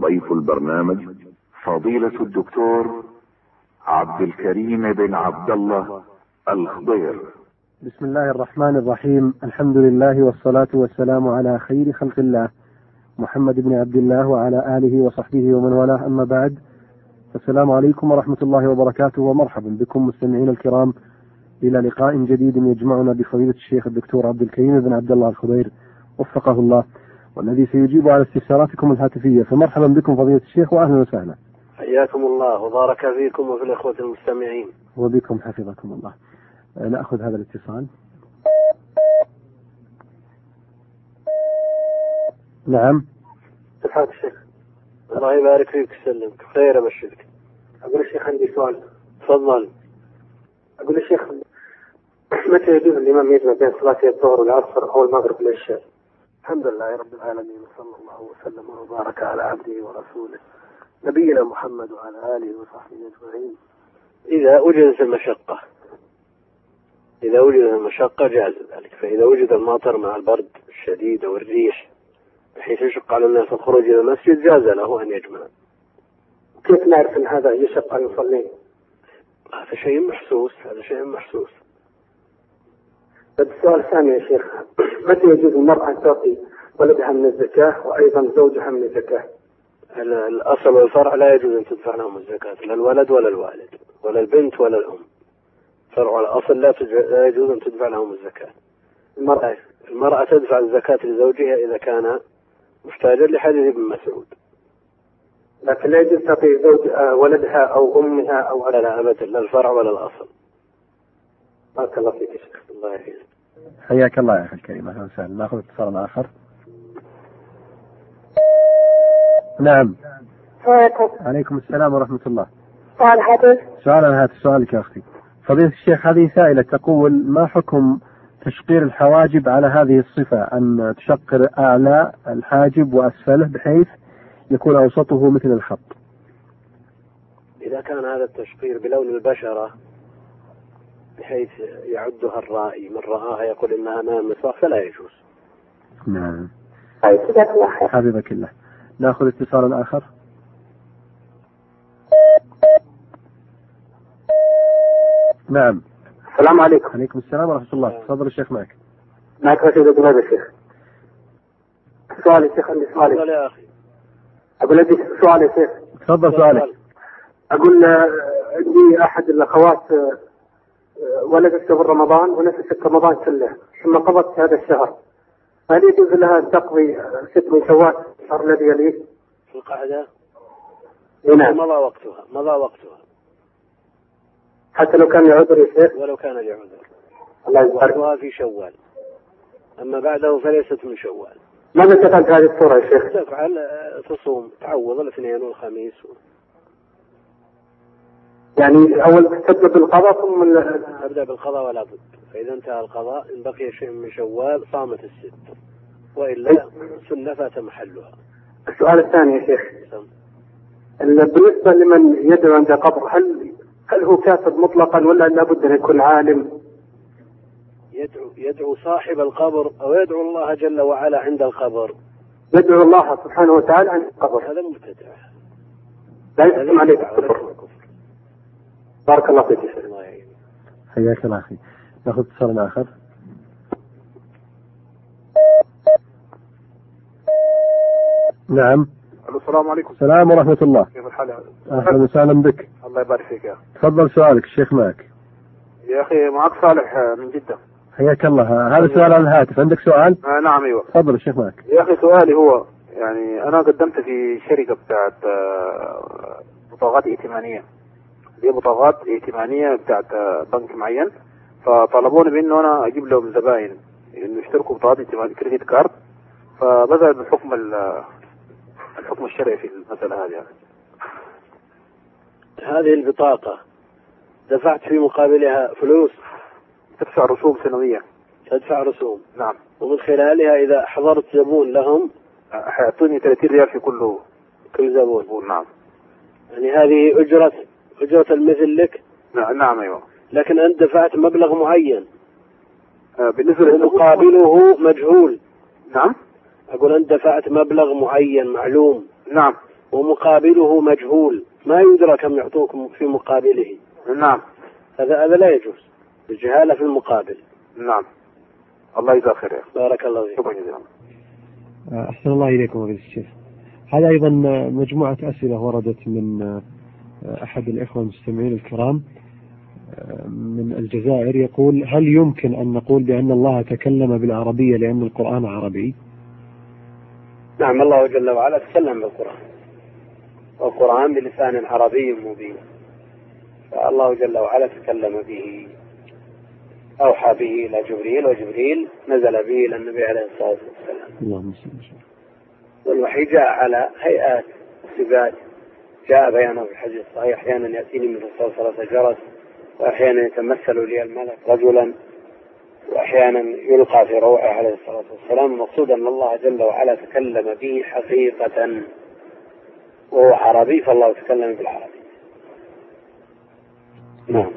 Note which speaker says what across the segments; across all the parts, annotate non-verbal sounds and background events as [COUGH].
Speaker 1: ضيف البرنامج فضيلة الدكتور عبد الكريم بن عبد الله الخضير
Speaker 2: بسم الله الرحمن الرحيم الحمد لله والصلاة والسلام على خير خلق الله محمد بن عبد الله وعلى آله وصحبه ومن والاه أما بعد السلام عليكم ورحمة الله وبركاته ومرحبا بكم مستمعينا الكرام إلى لقاء جديد يجمعنا بفضيلة الشيخ الدكتور عبد الكريم بن عبد الله الخضير وفقه الله والذي سيجيب على استفساراتكم الهاتفية فمرحبا بكم فضيلة الشيخ وأهلا وسهلا
Speaker 3: حياكم الله وبارك فيكم وفي الإخوة المستمعين
Speaker 2: وبكم حفظكم الله آه، نأخذ هذا الاتصال نعم
Speaker 3: كيف حالك الشيخ؟ الله يبارك فيك ويسلمك خير أبشرك
Speaker 4: أقول الشيخ عندي سؤال
Speaker 3: تفضل
Speaker 4: أقول الشيخ متى يجوز الإمام يجمع بين صلاتي الظهر والعصر أو المغرب والعشاء؟
Speaker 3: الحمد لله رب العالمين وصلى الله وسلم وبارك على عبده ورسوله نبينا محمد وعلى آله وصحبه أجمعين إذا وجدت المشقة إذا وجدت المشقة جاز ذلك فإذا وجد المطر مع البرد الشديد أو الريح بحيث يشق على الناس الخروج إلى المسجد جاز له أن يجمع
Speaker 4: كيف نعرف أن هذا يشق على المصلين؟
Speaker 3: هذا شيء محسوس هذا شيء محسوس
Speaker 4: طيب السؤال الثاني يا شيخ متى يجوز المرأة أن تعطي ولدها من الزكاة وأيضا زوجها من الزكاة؟
Speaker 3: ال- الأصل والفرع لا يجوز أن تدفع لهم الزكاة لا الولد ولا الوالد ولا البنت ولا الأم فرع الأصل لا, تج... لا يجوز أن تدفع لهم الزكاة طيب،
Speaker 4: المرأة
Speaker 3: المرأة تدفع الزكاة لزوجها إذا كان محتاجا لحديث ابن مسعود
Speaker 4: لكن لا يجوز تعطي زوج آه، ولدها أو أمها أو
Speaker 3: لا لا أبدا لا الفرع ولا الأصل
Speaker 4: بارك الله فيك يا شيخ
Speaker 3: الله يحفظك
Speaker 2: حياك الله يا أخي الكريم أهلا وسهلا نأخذ اتصال آخر نعم
Speaker 5: عليكم
Speaker 2: عليكم السلام ورحمة الله
Speaker 5: قال حدث
Speaker 2: سؤال عن هذا سؤالك يا أختي فضيلة الشيخ هذه سائلة تقول ما حكم تشقير الحواجب على هذه الصفة أن تشقر أعلى الحاجب وأسفله بحيث يكون أوسطه مثل الخط
Speaker 3: إذا كان هذا التشقير بلون البشرة بحيث يعدها الرائي من رآها يقول إنها نامصة فلا يجوز
Speaker 2: نعم
Speaker 5: طيب جزاك الله خير
Speaker 2: حفظك الله ناخذ اتصال آخر نعم
Speaker 4: السلام عليكم
Speaker 2: عليكم السلام ورحمة الله تفضل الشيخ معك
Speaker 4: معك رشيد أبو نبي يا شيخ سؤال يا شيخ عندي سؤال
Speaker 3: تفضل يا أخي
Speaker 4: أقول عندي سؤال يا شيخ
Speaker 2: تفضل سؤالك
Speaker 4: اقول آه، عندي احد الاخوات آه، آه، ولدت قبل رمضان ونفست رمضان كله ثم قضت هذا الشهر هل يجوز لها ان تقضي آه، ست من شوال الشهر الذي يليه؟
Speaker 3: في القعدة
Speaker 4: اي نعم
Speaker 3: مضى وقتها مضى وقتها
Speaker 4: حتى لو كان عذر يا شيخ
Speaker 3: ولو كان لعذر
Speaker 4: الله يبارك
Speaker 3: وقتها في شوال أما بعده فليست من شوال
Speaker 4: ماذا تفعل هذه الصوره يا شيخ؟
Speaker 3: تفعل آه، تصوم تعوض الاثنين والخميس و-
Speaker 4: يعني اول تبدا بالقضاء ثم ال-
Speaker 3: تبدأ بالقضاء ولا بد فإذا انتهى القضاء إن بقي شيء من شوال صامت الست وإلا سنة فات محلها نعم.
Speaker 4: السؤال الثاني يا شيخ
Speaker 3: سم.
Speaker 4: ال- بالنسبه لمن يدعو عند قبر هل هل هو كافر مطلقا ولا لابد ان يكون عالم؟
Speaker 3: يدعو يدعو صاحب القبر أو يدعو الله جل وعلا عند القبر
Speaker 4: يدعو الله سبحانه وتعالى عند القبر
Speaker 3: هذا مبتدع
Speaker 4: لا
Speaker 3: هذا
Speaker 4: يحكم عليك
Speaker 3: بدعة ولكن كفر.
Speaker 4: بارك الله فيك يا شيخ
Speaker 3: الله يعينك
Speaker 2: حياك الله أخي ناخذ اتصال آخر نعم
Speaker 6: السلام عليكم
Speaker 2: السلام ورحمة الله
Speaker 6: كيف الحال
Speaker 2: أهلا وسهلا بك
Speaker 6: الله يبارك فيك يا أخي.
Speaker 2: تفضل سؤالك الشيخ معك
Speaker 6: يا اخي معك صالح آه، من جده
Speaker 2: حياك الله هذا سؤال على الهاتف عندك سؤال
Speaker 6: آه نعم ايوه
Speaker 2: تفضل الشيخ معك
Speaker 6: يا اخي سؤالي هو يعني انا قدمت في شركه بتاعت آه، بطاقات ائتمانيه دي بطاقات ائتمانيه بتاعت آه، بنك معين فطلبوني بانه انا اجيب لهم زباين انه يشتركوا بطاقات ائتمانيه كريدت كارد فبذل بحكم ال- آه، الحكم الشرعي في المساله هذه يعني.
Speaker 3: هذه البطاقة دفعت في مقابلها فلوس
Speaker 6: تدفع رسوم سنويه
Speaker 3: تدفع رسوم
Speaker 6: نعم
Speaker 3: ومن خلالها إذا حضرت زبون لهم
Speaker 6: آه، حيعطوني 30 ريال في كل
Speaker 3: كل زبون
Speaker 6: قبول نعم
Speaker 3: يعني هذه أجرة أجرة المثل لك
Speaker 6: نعم نعم ايوه
Speaker 3: لكن أنت دفعت مبلغ معين
Speaker 6: آه، بالنسبه للمقابل
Speaker 3: ومقابله مجهول
Speaker 6: نعم
Speaker 3: أقول أنت دفعت مبلغ معين معلوم
Speaker 6: نعم
Speaker 3: ومقابله مجهول ما يدرى كم يعطوكم في مقابله
Speaker 6: نعم
Speaker 3: هذا هذا لا يجوز الجهالة في المقابل
Speaker 6: نعم الله يجزاه خير يا اخي
Speaker 3: بارك الله فيك
Speaker 6: شكرا جزيلا
Speaker 2: أحسن الله إليكم فضيلة الشيخ هذا أيضا مجموعة أسئلة وردت من آه، أحد الإخوة المستمعين الكرام آه، من الجزائر يقول هل يمكن أن نقول بأن الله تكلم بالعربية لأن القرآن عربي؟
Speaker 3: نعم الله جل وعلا تكلم بالقرآن والقرآن بلسان عربي مبين فالله جل وعلا تكلم به أوحى به إلى جبريل وجبريل نزل به إلى النبي عليه الصلاة والسلام
Speaker 2: اللهم صل وسلم.
Speaker 3: والوحي جاء على هيئات صفات جاء بيانه في الحديث الصحيح أحيانا يأتيني من الرسول صلاة جرس وأحيانا يتمثل لي الملك رجلا وأحيانا يلقى في روعه عليه الصلاة والسلام المقصود أن الله جل وعلا تكلم به حقيقة وهو عربي فالله تكلم بالعربي نعم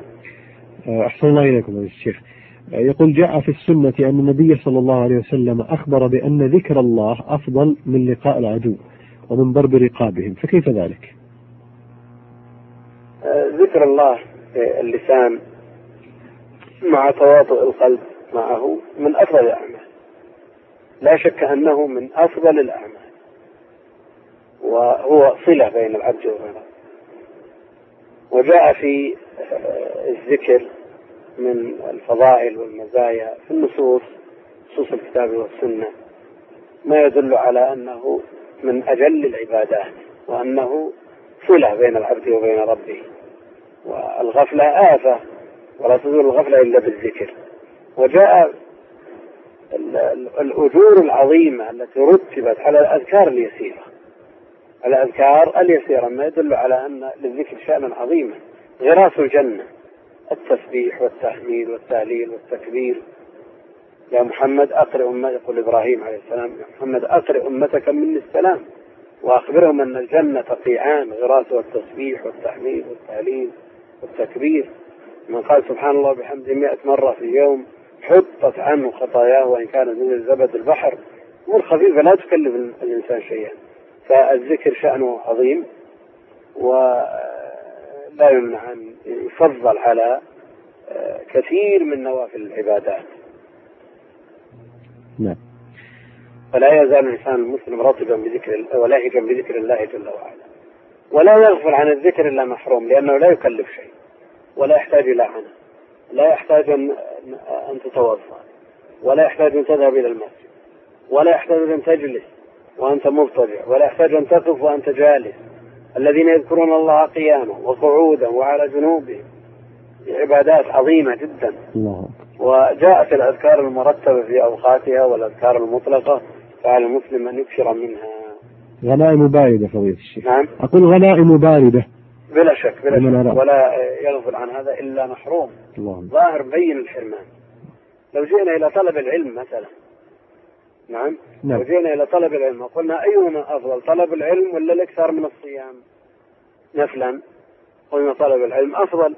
Speaker 2: آه، أحسن الله إليكم يا الشيخ يقول جاء في السنة أن النبي صلى الله عليه وسلم أخبر بأن ذكر الله أفضل من لقاء العدو ومن ضرب رقابهم فكيف ذلك؟
Speaker 3: آه، ذكر الله في اللسان مع تواطؤ القلب معه من أفضل الأعمال لا شك أنه من أفضل الأعمال وهو صلة بين العبد وبين وجاء في آه، الذكر من الفضائل والمزايا في النصوص نصوص الكتاب والسنة ما يدل على أنه من أجل العبادات وأنه صلة بين العبد وبين ربه والغفلة آفة ولا تزول الغفلة إلا بالذكر وجاء ال- ال- الأجور العظيمة التي رتبت على الأذكار اليسيرة الأذكار اليسيرة ما يدل على أن للذكر شأنا عظيما غراس الجنة التسبيح والتحميد والتهليل والتكبير يا محمد أقرئ أمتك يقول إبراهيم عليه السلام يا محمد أقرئ أمتك مني السلام وأخبرهم أن الجنة قيعان غراس والتسبيح والتحميد والتهليل والتكبير من قال سبحان الله بحمده مئة مرة في اليوم حطت عنه خطاياه وإن كانت مثل زبد البحر أمور خفيفة لا تكلف الإنسان شيئا فالذكر شأنه عظيم ولا يمنع أن يفضل على آه، كثير من نوافل العبادات
Speaker 2: نعم
Speaker 3: فلا يزال الانسان المسلم راطبا بذكر ولاهجا بذكر الله جل وعلا ولا يغفل عن الذكر الا محروم لانه لا يكلف شيء ولا يحتاج الى عناء لا يحتاج ان ان تتوضا ولا يحتاج ان تذهب الى المسجد ولا يحتاج ان تجلس وانت مضطجع ولا يحتاج ان تقف وانت جالس الذين يذكرون الله قياما وقعودا وعلى جنوبهم عبادات عظيمه جدا
Speaker 2: الله أكبر.
Speaker 3: وجاءت الأذكار المرتبة في أوقاتها والأذكار المطلقة فعلى المسلم أن يكثر منها
Speaker 2: غنائم باردة فضيلة الشيخ
Speaker 3: نعم
Speaker 2: أقول غنائم باردة
Speaker 3: بلا شك بلا
Speaker 2: ومن
Speaker 3: شك
Speaker 2: أراد.
Speaker 3: ولا يغفل عن هذا إلا محروم
Speaker 2: اللهم
Speaker 3: ظاهر بين الحرمان لو جئنا إلى طلب العلم مثلا نعم لو
Speaker 2: نعم
Speaker 3: جئنا إلى طلب العلم وقلنا أيهما أفضل طلب العلم ولا الإكثار من الصيام نفلا قلنا طلب العلم أفضل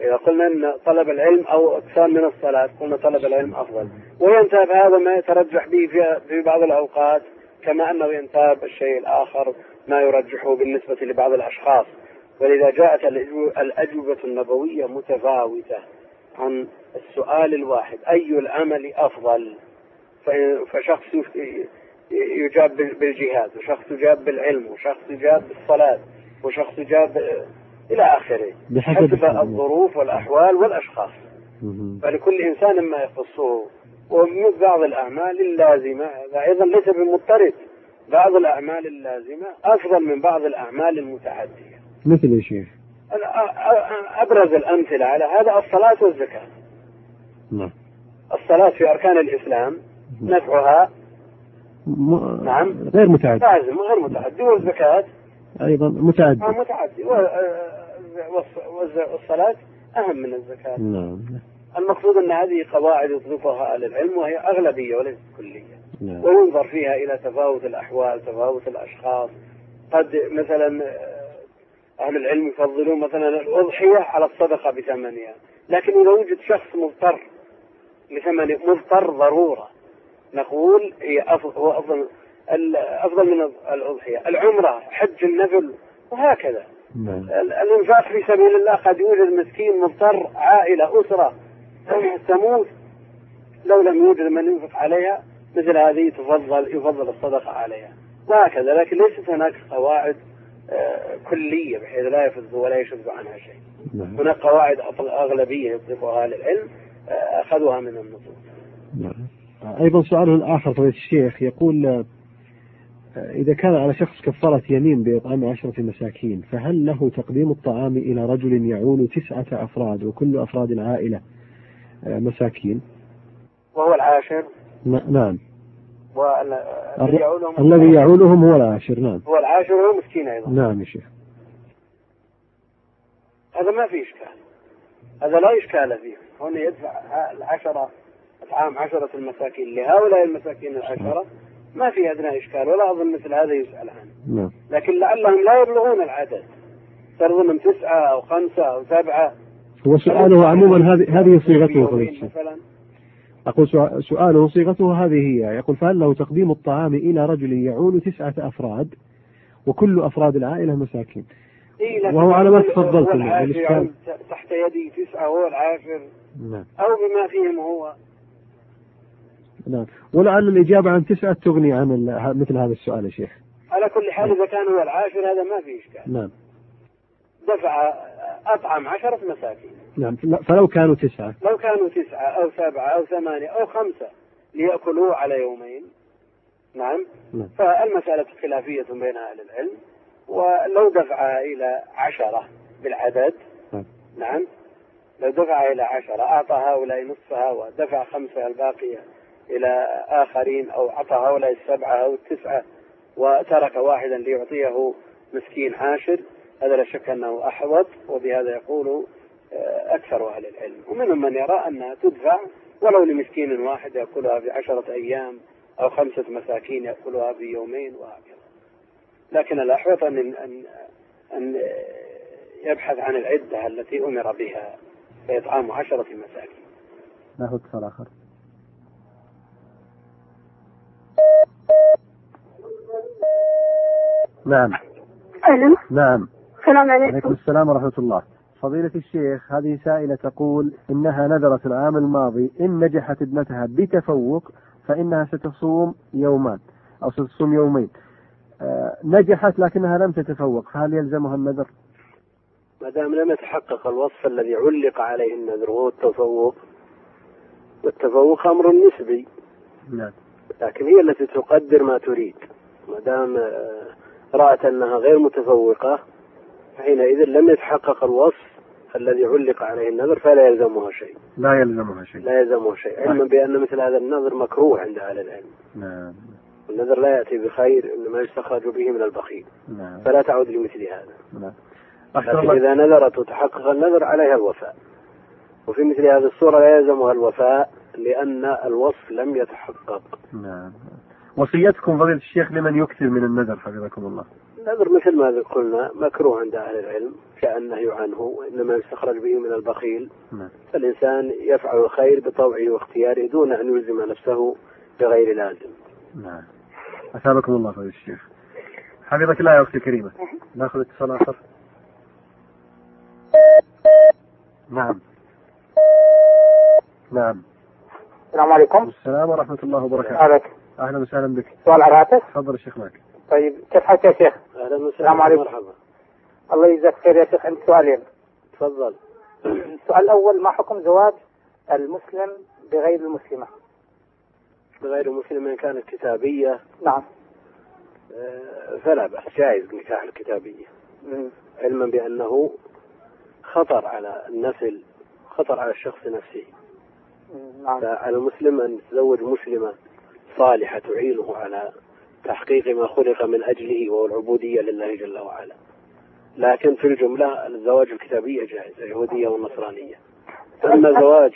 Speaker 3: إذا قلنا أن طلب العلم أو إكثار من الصلاة قلنا طلب العلم أفضل وينتاب هذا ما يترجح به في, في بعض الأوقات كما أنه ينتاب الشيء الآخر ما يرجحه بالنسبة لبعض الأشخاص ولذا جاءت الأجو- الأجوبة النبوية متفاوتة عن السؤال الواحد أي العمل أفضل ف- فشخص يف- يجاب بال- بالجهاد وشخص يجاب بالعلم وشخص يجاب بالصلاة وشخص يجاب إلى آخره
Speaker 2: بحسب
Speaker 3: حسب
Speaker 2: الحال.
Speaker 3: الظروف والأحوال والأشخاص
Speaker 2: مهم.
Speaker 3: فلكل إنسان ما يخصه ومن بعض الأعمال اللازمة هذا أيضا ليس بمضطرد بعض الأعمال اللازمة أفضل من بعض الأعمال المتعدية
Speaker 2: مثل يا شيخ
Speaker 3: ال- أ- أ- أبرز الأمثلة على هذا الصلاة والزكاة
Speaker 2: نعم
Speaker 3: الصلاة في أركان الإسلام نفعها
Speaker 2: م-
Speaker 3: نعم.
Speaker 2: غير متعدد
Speaker 3: لازم غير متعدي والزكاة
Speaker 2: أيضا متعدد
Speaker 3: آه، متعدي و- آه، والص- والز- والصلاة أهم من الزكاة
Speaker 2: نعم
Speaker 3: المقصود أن هذه قواعد يطلقها أهل العلم وهي أغلبية وليست كلية
Speaker 2: نعم
Speaker 3: وينظر فيها إلى تفاوت الأحوال تفاوت الأشخاص قد مثلا آه، أهل العلم يفضلون مثلا الأضحية على الصدقة بثمنها لكن إذا وجد شخص مضطر لثمن مضطر ضرورة نقول هي أفضل, هو أفضل ال- أفضل من الأضحية العمرة حج النذل وهكذا
Speaker 2: نعم
Speaker 3: ال- الإنفاق في سبيل الله قد يوجد مسكين مضطر عائلة أسرة تموت لو لم يوجد من ينفق عليها مثل هذه تفضل يفضل الصدقة عليها وهكذا لكن ليست هناك قواعد آه، كلية بحيث لا يفض ولا يشذ عنها شيء
Speaker 2: نعم
Speaker 3: هناك قواعد أطل- أغلبية يطلقها أهل العلم آه، أخذوها من النصوص
Speaker 2: نعم. أيضا سؤاله الآخر فضيلة الشيخ يقول آه، إذا كان على شخص كفارة يمين بإطعام عشرة مساكين فهل له تقديم الطعام إلى رجل يعول تسعة أفراد وكل أفراد العائلة آه، مساكين
Speaker 3: وهو العاشر
Speaker 2: ن- نعم
Speaker 3: وال- الذي يعولهم
Speaker 2: الذي يعولهم هو العاشر نعم
Speaker 3: هو العاشر وهو مسكين أيضا
Speaker 2: نعم يا شيخ
Speaker 3: هذا ما في إشكال هذا لا إشكال فيه هنا يدفع العشرة إطعام عشرة المساكين لهؤلاء المساكين العشرة ما في أدنى إشكال ولا أظن مثل هذا يسأل عنه
Speaker 2: نعم
Speaker 3: لكن لعلهم لا يبلغون العدد صار ضمن تسعة أو خمسة أو سبعة
Speaker 2: هو سؤاله عموما هذه هذه صيغته فضيلة
Speaker 3: يومين
Speaker 2: الشيخ
Speaker 3: مثلا
Speaker 2: أقول سؤ- سؤاله صيغته هذه هي يقول فهل له تقديم الطعام إلى رجل يعول تسعة أفراد وكل أفراد العائلة مساكين
Speaker 3: إيه، لكن
Speaker 2: وهو على ما
Speaker 3: هو
Speaker 2: تفضلتم،
Speaker 3: العاشر
Speaker 2: الإشكال.
Speaker 3: يعود تحت يدي تسعة هو العاشر
Speaker 2: نعم
Speaker 3: أو بما فيهم هو
Speaker 2: نعم ولعل الإجابة عن تسعة تغني عن ال- ه- مثل هذا السؤال يا شيخ
Speaker 3: على كل حال إذا كان هو العاشر هذا ما في إشكال
Speaker 2: نعم
Speaker 3: دفع أطعم عشرة مساكين
Speaker 2: نعم لا- فلو كانوا تسعة
Speaker 3: لو كانوا تسعة أو سبعة أو ثمانية أو خمسة ليأكلوه على يومين نعم
Speaker 2: نعم.
Speaker 3: فالمسألة خلافية بين أهل العلم ولو دفع إلى عشرة بالعدد
Speaker 2: نعم.
Speaker 3: نعم لو دفع إلى عشرة أعطى هؤلاء نصفها ودفع خمسة الباقية إلى آخرين أو أعطى هؤلاء السبعة أو التسعة وترك واحدا ليعطيه مسكين عاشر هذا لا شك أنه أحوط وبهذا يقول آه، أكثر أهل العلم ومنهم من يرى أنها تدفع ولو لمسكين واحد يأكلها في عشرة أيام أو خمسة مساكين يأكلها في يومين وهكذا لكن الأحوط أن أن أن يبحث عن العدة التي أمر بها فإطعام عشرة مساكين
Speaker 2: ناخذ اتصال آخر نعم
Speaker 5: الو
Speaker 2: نعم
Speaker 5: السلام
Speaker 2: عليكم
Speaker 5: عليكم
Speaker 2: السلام ورحمة الله فضيلة الشيخ هذه سائلة تقول إنها نذرت العام الماضي إن نجحت ابنتها بتفوق فإنها ستصوم يومان أو ستصوم يومين آه، نجحت لكنها لم تتفوق فهل يلزمها النذر؟
Speaker 3: ما دام لم يتحقق الوصف الذي علق عليه النذر وهو التفوق والتفوق أمر نسبي
Speaker 2: نعم
Speaker 3: لكن هي التي تقدر ما تريد ما دام آه، رأت أنها غير متفوقة فحينئذ لم يتحقق الوصف الذي علق عليه النذر فلا يلزمها شيء
Speaker 2: لا يلزمها شيء
Speaker 3: لا يلزمه شيء علما بأن مثل هذا النذر مكروه عند أهل العلم
Speaker 2: نعم
Speaker 3: النذر لا يأتي بخير إنما يستخرج به من البخيل
Speaker 2: نعم
Speaker 3: فلا تعود لمثل هذا
Speaker 2: نعم
Speaker 3: لكن إذا نذرت وتحقق النذر عليها الوفاء وفي مثل هذه الصورة لا يلزمها الوفاء لأن الوصف لم يتحقق
Speaker 2: نعم وصيتكم فضيلة الشيخ لمن يكثر من النذر حفظكم الله
Speaker 3: النذر مثل ما قلنا مكروه عند أهل العلم جاء النهي عنه وإنما يستخرج به من البخيل
Speaker 2: نعم
Speaker 3: فالإنسان يفعل الخير بطوعه واختياره دون أن يلزم نفسه بغير لازم
Speaker 2: نعم أثابكم الله فضيلة الشيخ حفظك الله يا أختي الكريمة ناخذ اتصال آخر نعم نعم
Speaker 4: السلام عليكم
Speaker 2: السلام ورحمة الله وبركاته
Speaker 4: هذا
Speaker 2: أهلا وسهلا بك
Speaker 4: سؤال على الهاتف
Speaker 2: تفضل يا شيخ معك
Speaker 4: طيب كيف حالك يا شيخ؟
Speaker 3: أهلا
Speaker 4: السلام
Speaker 3: وسهلا
Speaker 4: عليكم.
Speaker 3: مرحبا
Speaker 4: الله يجزاك خير يا شيخ عندي سؤالين
Speaker 3: تفضل
Speaker 4: [CLEARS THROAT] السؤال الأول ما حكم زواج المسلم بغير المسلمة؟
Speaker 3: غير مسلم إن كانت كتابية
Speaker 4: نعم
Speaker 3: آه، فلا بأس جائز نكاح الكتابية
Speaker 4: مم.
Speaker 3: علما بأنه خطر على النسل خطر على الشخص نفسه
Speaker 4: مم. نعم
Speaker 3: فعلى المسلم أن يتزوج مسلمة صالحة تعينه على تحقيق ما خلق من أجله وهو العبودية لله جل وعلا لكن في الجملة الزواج الكتابية جائزة يهودية والنصرانية أما زواج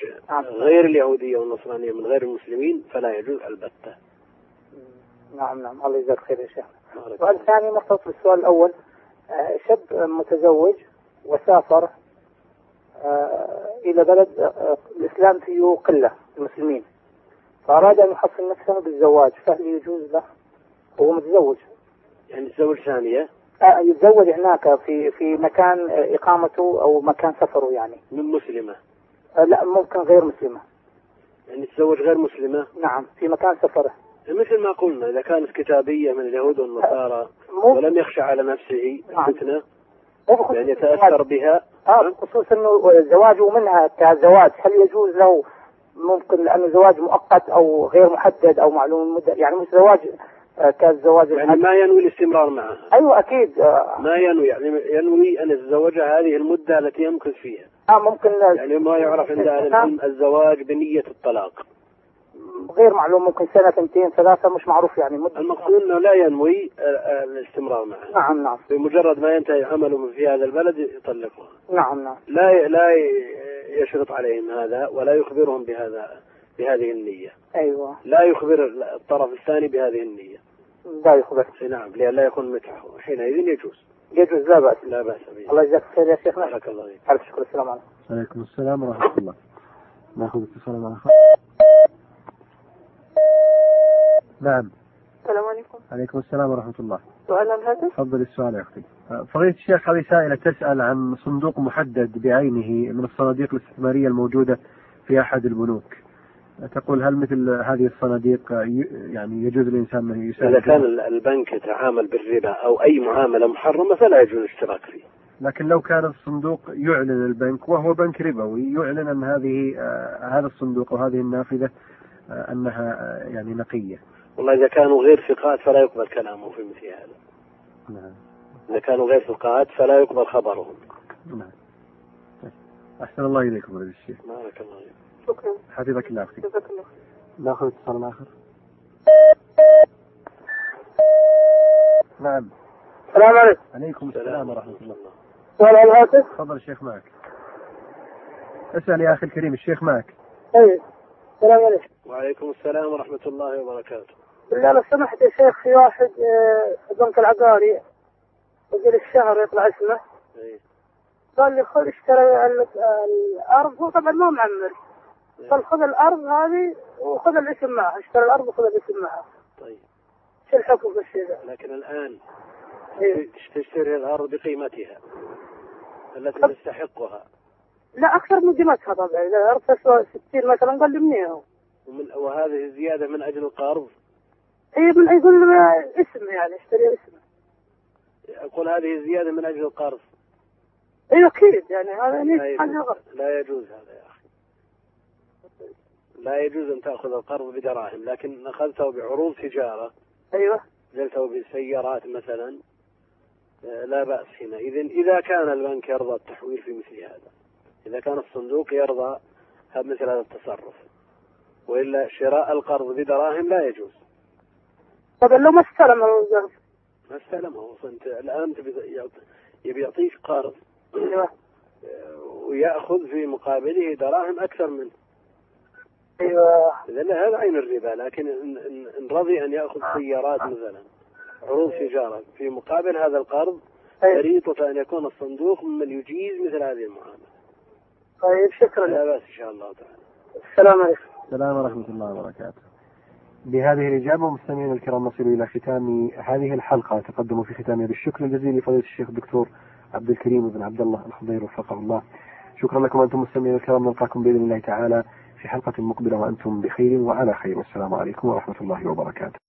Speaker 3: غير اليهودية والنصرانية من غير المسلمين فلا يجوز البتة
Speaker 4: نعم نعم الله يجزاك خير يا شيخ سؤال ثاني مرتبط بالسؤال الأول آه، شاب متزوج وسافر آه، إلى بلد آه، الإسلام فيه قلة المسلمين فأراد أن يحصن نفسه بالزواج فهل يجوز له
Speaker 7: وهو متزوج
Speaker 3: يعني تزوج ثانية
Speaker 7: آه، يتزوج هناك في في مكان آه، اقامته او مكان سفره يعني
Speaker 3: من مسلمة
Speaker 7: آه، لا ممكن غير مسلمه
Speaker 3: يعني تزوج غير مسلمة
Speaker 7: نعم في مكان سفره
Speaker 3: مثل ما قلنا إذا كانت كتابية من اليهود والنصارى
Speaker 7: مو
Speaker 3: ولم يخشى على نفسه
Speaker 7: نعم.
Speaker 3: الفتنة
Speaker 7: مو بخصوص
Speaker 3: بأن يتأثر
Speaker 7: الزواج.
Speaker 3: بها
Speaker 7: اه بخصوص انه زواجه منها كزواج هل يجوز له ممكن لانه زواج مؤقت او غير محدد او معلوم المده يعني مش زواج آه، كالزواج
Speaker 3: يعني
Speaker 7: الحد.
Speaker 3: ما ينوي الاستمرار معها
Speaker 7: ايوه اكيد آه
Speaker 3: ما ينوي يعني ينوي أن يتزوجها هذه المدة التي يمكث فيها
Speaker 7: آه، ممكن آه،
Speaker 3: يعني ما يعرف عند أهل العلم الزواج بنية الطلاق
Speaker 7: غير معلوم ممكن سنه سنتين ثلاثه مش معروف يعني مده
Speaker 3: المقصود أنه لا ينوي آه، آه، الاستمرار معها
Speaker 7: نعم نعم
Speaker 3: بمجرد ما ينتهي عمله في هذا البلد يطلقها
Speaker 7: نعم نعم
Speaker 3: لا ي- لا ي- يشرط عليهم هذا ولا يخبرهم بهذا بهذه النية
Speaker 7: ايوه
Speaker 3: لا يخبر الطرف الثاني بهذه النية
Speaker 7: لا يخبر
Speaker 3: إي نعم لئلا يكون متعه حينئذ يجوز
Speaker 7: يجوز لا باس
Speaker 3: لا بأس به
Speaker 7: الله يجزاك خير يا شيخنا
Speaker 3: بارك الله فيك
Speaker 7: ألف شكر السلام عليكم
Speaker 2: عليكم السلام ورحمة الله ناخذ اتصال مع أخ نعم
Speaker 5: السلام عليكم
Speaker 2: عليكم السلام ورحمة الله
Speaker 5: سؤال عن هذا
Speaker 2: تفضل السؤال يا أختي آه، فضيلة الشيخ هذه سائلة تسأل عن صندوق محدد بعينه من الصناديق الاستثمارية الموجودة في أحد البنوك آه، تقول هل مثل هذه الصناديق آه، ي- يعني يجوز الإنسان أن
Speaker 3: إذا
Speaker 2: يساهم
Speaker 3: كان
Speaker 2: فيها؟
Speaker 3: ال- البنك يتعامل بالربا أو أي معاملة محرمة فلا يجوز الاشتراك فيه
Speaker 2: لكن لو كان الصندوق يعلن البنك وهو بنك ربوي يعلن أن هذه آه، هذا الصندوق وهذه النافذة آه، أنها آه، يعني نقية
Speaker 3: والله إذا كانوا غير ثقات فلا يقبل كلامهم في مثل هذا
Speaker 2: نعم
Speaker 3: إذا كانوا غير ثقات فلا يقبل خبرهم
Speaker 2: نعم طيب. أحسن الله إليكم فضيلة الشيخ
Speaker 3: بارك الله فيك
Speaker 5: شكرا
Speaker 2: حفظك الله أختي
Speaker 5: جزاك الله خير
Speaker 2: ناخذ اتصال آخر نعم
Speaker 4: السلام عليكم
Speaker 2: عليكم السلام ورحمة الله
Speaker 4: سؤال على الهاتف
Speaker 2: تفضل الشيخ معك اسأل يا أخي الكريم الشيخ معك
Speaker 7: طيب.
Speaker 4: اي السلام عليكم
Speaker 3: وعليكم السلام ورحمة الله وبركاته
Speaker 4: بالله لو سمحت يا شيخ في واحد آه، بنك العقاري وقال الشهر يطلع اسمه
Speaker 3: إيه.
Speaker 4: قال لي خذ اشتري ال- الارض هو طبعا ما معمر
Speaker 7: إيه.
Speaker 4: قال خذ الارض هذه وخذ الاسم معها اشتري الارض وخذ الاسم معها
Speaker 3: طيب
Speaker 4: شو الحكم في الشيء ذا؟
Speaker 3: لكن الآن
Speaker 4: إيه.
Speaker 3: تشتري الأرض بقيمتها التي تستحقها
Speaker 4: لا اكثر من قيمتها طبعا اذا الارض تسوى 60 مثلا قال لي منين هو؟
Speaker 3: ومن وهذه الزيادة من أجل القرض
Speaker 4: اي إيه، من يقول لي اسم يعني اشتري اسم
Speaker 3: أقول هذه الزيادة من أجل القرض
Speaker 4: اي اكيد يعني هذا
Speaker 3: لا
Speaker 7: أيوة.
Speaker 4: ليش حاجه غلط
Speaker 3: يجوز, لا يجوز هذا يا أخي لا يجوز أن تأخذ القرض بدراهم لكن أخذته بعروض تجارة
Speaker 4: ايوه
Speaker 3: زلته بسيارات مثلا آه، لا بأس حينئذ إذا كان البنك يرضى التحويل في مثل هذا إذا كان الصندوق يرضى هذا- مثل هذا التصرف وإلا شراء القرض بدراهم لا يجوز
Speaker 4: طبعا لو ما استلم الزلمه
Speaker 3: ما استلمه أصلاً. أنت الآن تبي يعط- يبي يعطيك قرض [COUGHS]
Speaker 4: ايوه
Speaker 3: آه، ويأخذ في مقابله دراهم أكثر منه
Speaker 4: ايوه
Speaker 3: لأن هذا عين الربا لكن إن- إن إن رضي أن يأخذ سيارات مثلا عروض تجارة في مقابل هذا القرض
Speaker 4: طيب
Speaker 3: شريطة أن يكون الصندوق ممن يجيز مثل هذه المعاملة
Speaker 4: طيب شكرا
Speaker 3: لا بأس إن شاء الله تعالى
Speaker 4: السلام عليكم
Speaker 2: السلام ورحمة الله وبركاته بهذه الإجابة مستمعينا الكرام نصل إلى ختام هذه الحلقة أتقدم في ختامها بالشكر الجزيل لفضيلة الشيخ الدكتور عبد الكريم بن عبد الله الخضير وفقه الله شكرا لكم أنتم مستمعين الكرام نلقاكم بإذن الله تعالى في حلقة مقبلة وأنتم بخير وعلى خير والسلام عليكم ورحمة الله وبركاته